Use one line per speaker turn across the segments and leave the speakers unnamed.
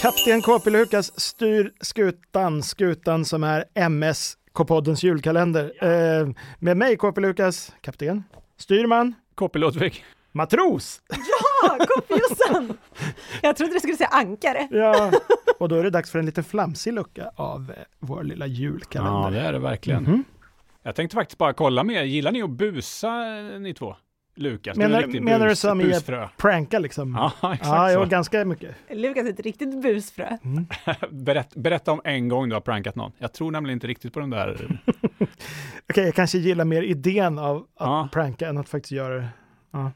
Kapten KP Lukas styr skutan, skutan som är MS K-poddens julkalender. Eh, med mig KP Lukas, kapten, styrman,
KP Ludvig.
matros.
Ja, kopiosan! Jag trodde du skulle säga ankare.
Ja. Och då är det dags för en liten flamsig lucka av eh, vår lilla
Ja,
julkalender.
det är det verkligen.
Mhm.
Jag tänkte faktiskt bara kolla med er. Gillar ni att busa eh, ni två? Lukas, du är
Menar-
en riktig
menar du
bus,
som i-
busfrö.
Pranka liksom.
Ja, exakt
ja
så.
jo, ganska mycket. Mm.
Lukas är ett riktigt busfrö.
Berätt, berätta om en gång du har prankat någon. Jag tror nämligen inte riktigt på den där.
Okej, jag kanske gillar mer idén av att
Ja.
pranka än att faktiskt göra det. Ja.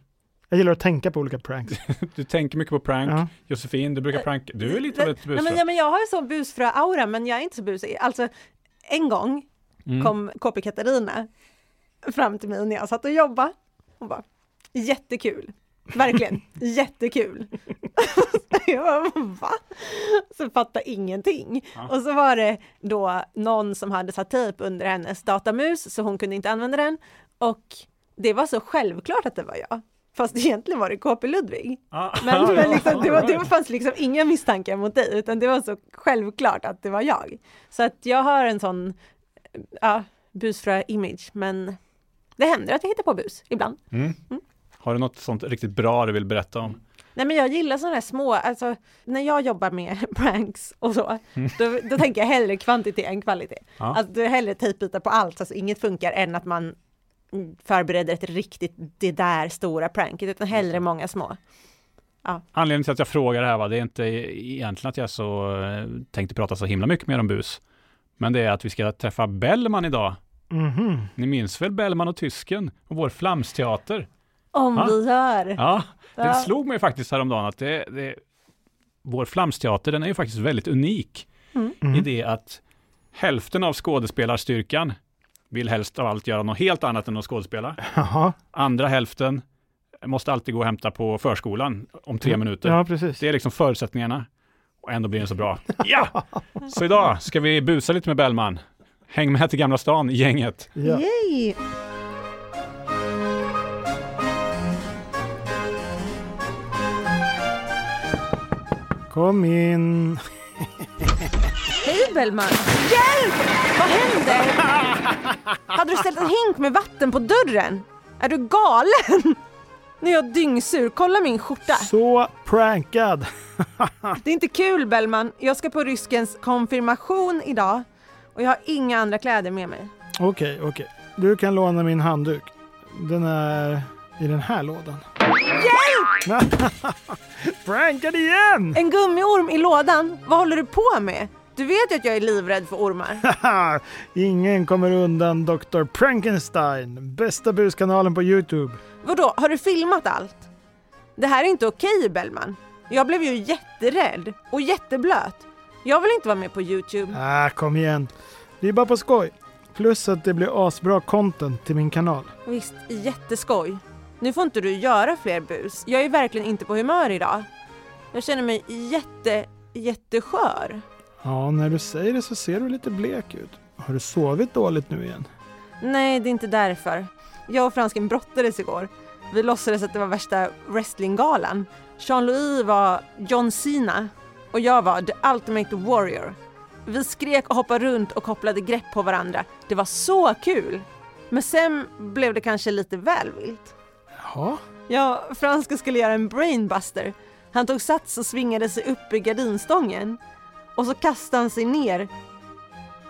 Jag gillar att tänka på olika pranks.
Du tänker mycket på prank.
Ja.
Josefin, du brukar pranka. Du är lite av ett
Nej,
busfrö.
men, ja, men jag har ju sån busfrö-aura, men jag är inte så busig. Alltså, en gång
Mm.
kom KP Katarina fram till mig när jag satt och jobbade. Hon bara, jättekul. Verkligen, jättekul. jag bara, va? Så fattade ingenting. Och så var det då någon som hade satt tejp under hennes datamus, så hon kunde inte använda den. Och det var så självklart att det var jag. Fast egentligen var det KP Ludvig.
Ah,
Men,
ja,
men liksom, det, var, det
right.
fanns liksom inga misstankar mot dig, utan det var så självklart att det var jag. Så att jag har en sån ja, busfrö-image, men det händer att jag hittar på bus ibland.
Mm. Har du något sånt riktigt bra du vill berätta om?
Nej men jag gillar sådana här små, alltså när jag jobbar med pranks och så, då, då tänker jag hellre kvantitet än kvalitet.
Mm. Ja.
Alltså då är hellre tejpbitar på allt, alltså inget funkar, än att man mm, förbereder ett riktigt, det där stora pranket, utan hellre många små.
Anledningen till att jag frågar det här, va, det är inte egentligen att jag så eh, tänkte prata så himla mycket mer om bus. Men det är att vi ska träffa Bellman idag.
Mhm.
Ni minns väl Bellman och tysken och vår flamsteater?
Om
Ja.
vi gör!
Ja, det
Ja.
slog mig faktiskt häromdagen att det, det, vår flamsteater, den är ju faktiskt väldigt unik
Mm.
i det att hälften av skådespelarstyrkan vill helst av allt göra något helt annat än att skådespela.
Jaha,
Andra hälften måste alltid gå och hämta på förskolan om tre minuter.
ja precis.
Det är liksom förutsättningarna och ändå blir den så bra. Ja! Så idag ska vi busa lite med Bellman. Häng med till Gamla stan, gänget.
Ja.
Yay!
Kom in.
Hej Bellman! Hjälp! Vad händer? Hade du ställt en hink med vatten på dörren? Är du galen? Nu är jag dyngsur. Kolla min skjorta.
Så prankad.
Det är inte kul Bellman. Jag ska på ryskens konfirmation idag och jag har inga andra kläder med mig.
Okej, okej. Du kan låna min handduk. Den är i den här lådan. Hjälp! prankad igen!
En gummiorm i lådan? Vad håller du på med? Du vet ju att jag är livrädd för ormar.
Haha, Ingen kommer undan Dr. Frankenstein, bästa buskanalen på Youtube.
Vadå, har du filmat allt? Det här är inte okej Bellman. Jag blev ju jätterädd och jätteblöt. Jag vill inte vara med på Youtube.
Ah, kom igen. Det är bara på skoj. Plus att det blir asbra content till min kanal.
Visst, jätteskoj. Nu får inte du göra fler bus. Jag är verkligen inte på humör idag. Jag känner mig jätte, jätteskör.
Ja, när du säger det så ser du lite blek ut. Har du sovit dåligt nu igen?
Nej, det är inte därför. Jag och fransken brottades igår. Vi låtsades att det var värsta wrestlinggalan. Jean-Louis var John Cena och jag var The Ultimate Warrior. Vi skrek och hoppade runt och kopplade grepp på varandra. Det var så kul! Men sen blev det kanske lite väl vilt.
Jaha.
Ja, Franska skulle göra en brainbuster. Han tog sats och svingade sig upp i gardinstången. Och så kastade han sig ner.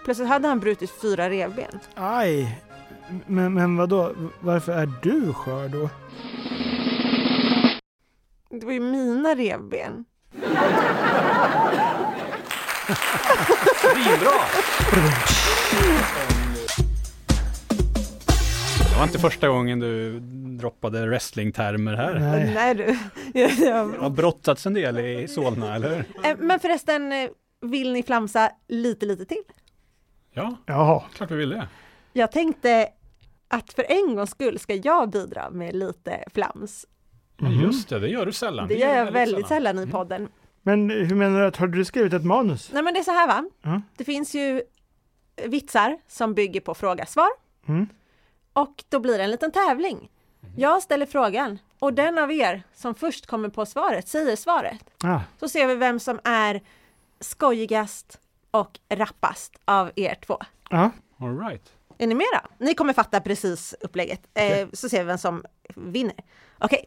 Plötsligt hade han brutit fyra revben.
Aj. M- Men, men vadå, varför är du skör då?
Det var ju mina revben.
Svinbra! Det var inte första gången du droppade wrestlingtermer här.
Nej.
Nej du. Jag- jag-
Du har brottats en del i Solna, eller hur?
Eh, Men förresten, eh, vill ni flamsa lite, lite till?
Ja,
Jaha.
klart vi vill det.
Jag tänkte att för en gångs skull ska jag bidra med lite flams.
Ja, Just det, det gör du Mhm. sällan.
Det gör jag väldigt sällan Mm. i podden.
Men hur menar du att, har du skrivit ett manus?
Nej men det är så här va.
Ja.
Det finns ju vitsar som bygger på fråga-svar.
Mm.
Och då blir det en liten tävling. Jag ställer frågan och den av er som först kommer på svaret säger svaret.
Ah,
Så ser vi vem som är skojigast och rappast av er två.
Ja.
All right.
Är ni med då? Ni kommer fatta precis upplägget, eh,
Okej.
så ser vi vem som vinner. Okej.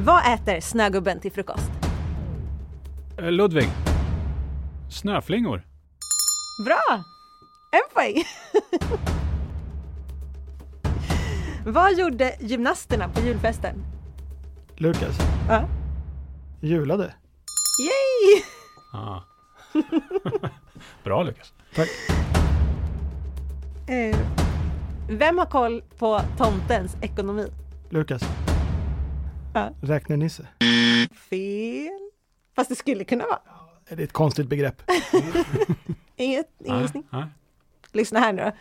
Vad äter snögubben till frukost?
Eh, Ludvig. Snöflingor.
Bra! En poäng! Vad gjorde gymnasterna på julfesten?
Lukas,
Ja.
julade.
Yay!
Ah. Bra Lukas.
Tack.
Eh, Vem har koll på tomtens ekonomi?
Lukas.
Ja.
Räknenisse.
Fel. Fast det skulle kunna vara.
Det är ett konstigt begrepp.
Inget, ingen gissning.
Ah, ah.
Lyssna här nu då.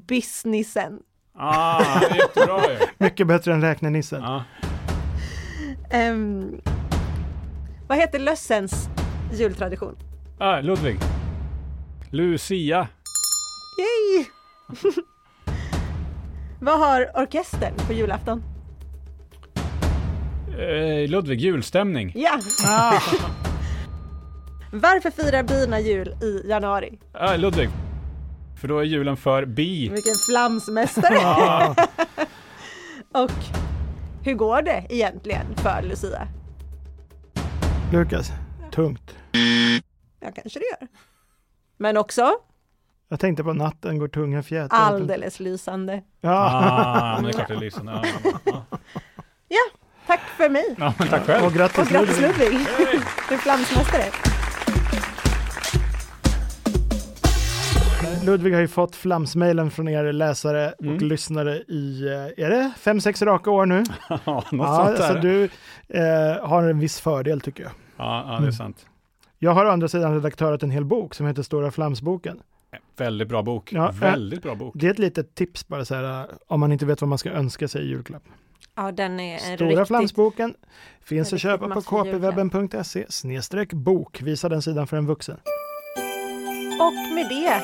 Businessen.
ah, jättebra ju.
Mycket bättre än räknenissen.
Ah.
Ehm, vad heter lössens jultradition?
Ah, Ludvig. Lucia.
Yay! vad har orkestern på julafton?
Eh, Ludvig, julstämning.
Ja! Varför firar bina jul i januari?
Ah, Ludvig. För då är julen för bi.
Vilken flamsmästare!
Ah,
Och hur går det egentligen för Lucia?
Lukas, tungt.
Ja, kanske det gör. Men också
Jag tänkte på natten går tunga fjätrar.
alldeles lysande.
Ja,
ah, men det är klart det är lysande. Ah, ah.
Ja, tack för mig.
Ja, men tack själv.
och grattis,
Och grattis
Ludvig.
Ludvig! Du är flamsmästare.
Ludvig har ju fått flamsmailen från er läsare och lyssnare i, eh, är det fem, sex raka år nu?
Ja, något
Ja,
sånt
så
där.
du eh, har en viss fördel tycker jag.
Ja, ja, det är sant.
Jag har å andra sidan redaktörat en hel bok som heter Stora Flamsboken.
Väldigt bra bok.
Ja, eh.
Väldigt bra bok.
Det är ett litet tips bara så här, eh, om man inte vet vad man ska önska sig i julklapp.
Ja, den är en
Stora
riktigt...
Flamsboken finns
en
att köpa på
riktigt maffig
kpwebben.se snedstreck bok. Visa den sidan för en vuxen.
Och med det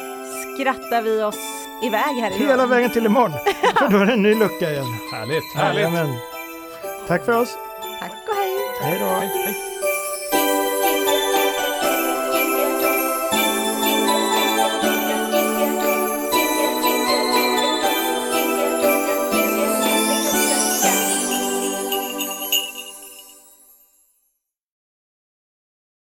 skrattar vi oss iväg härifrån.
Hela vägen till imorgon, för då är det en ny lucka igen.
Härligt, härligt.
Jajamän. Tack för oss.
Tack och hej!
Hej då.
Hej, hej.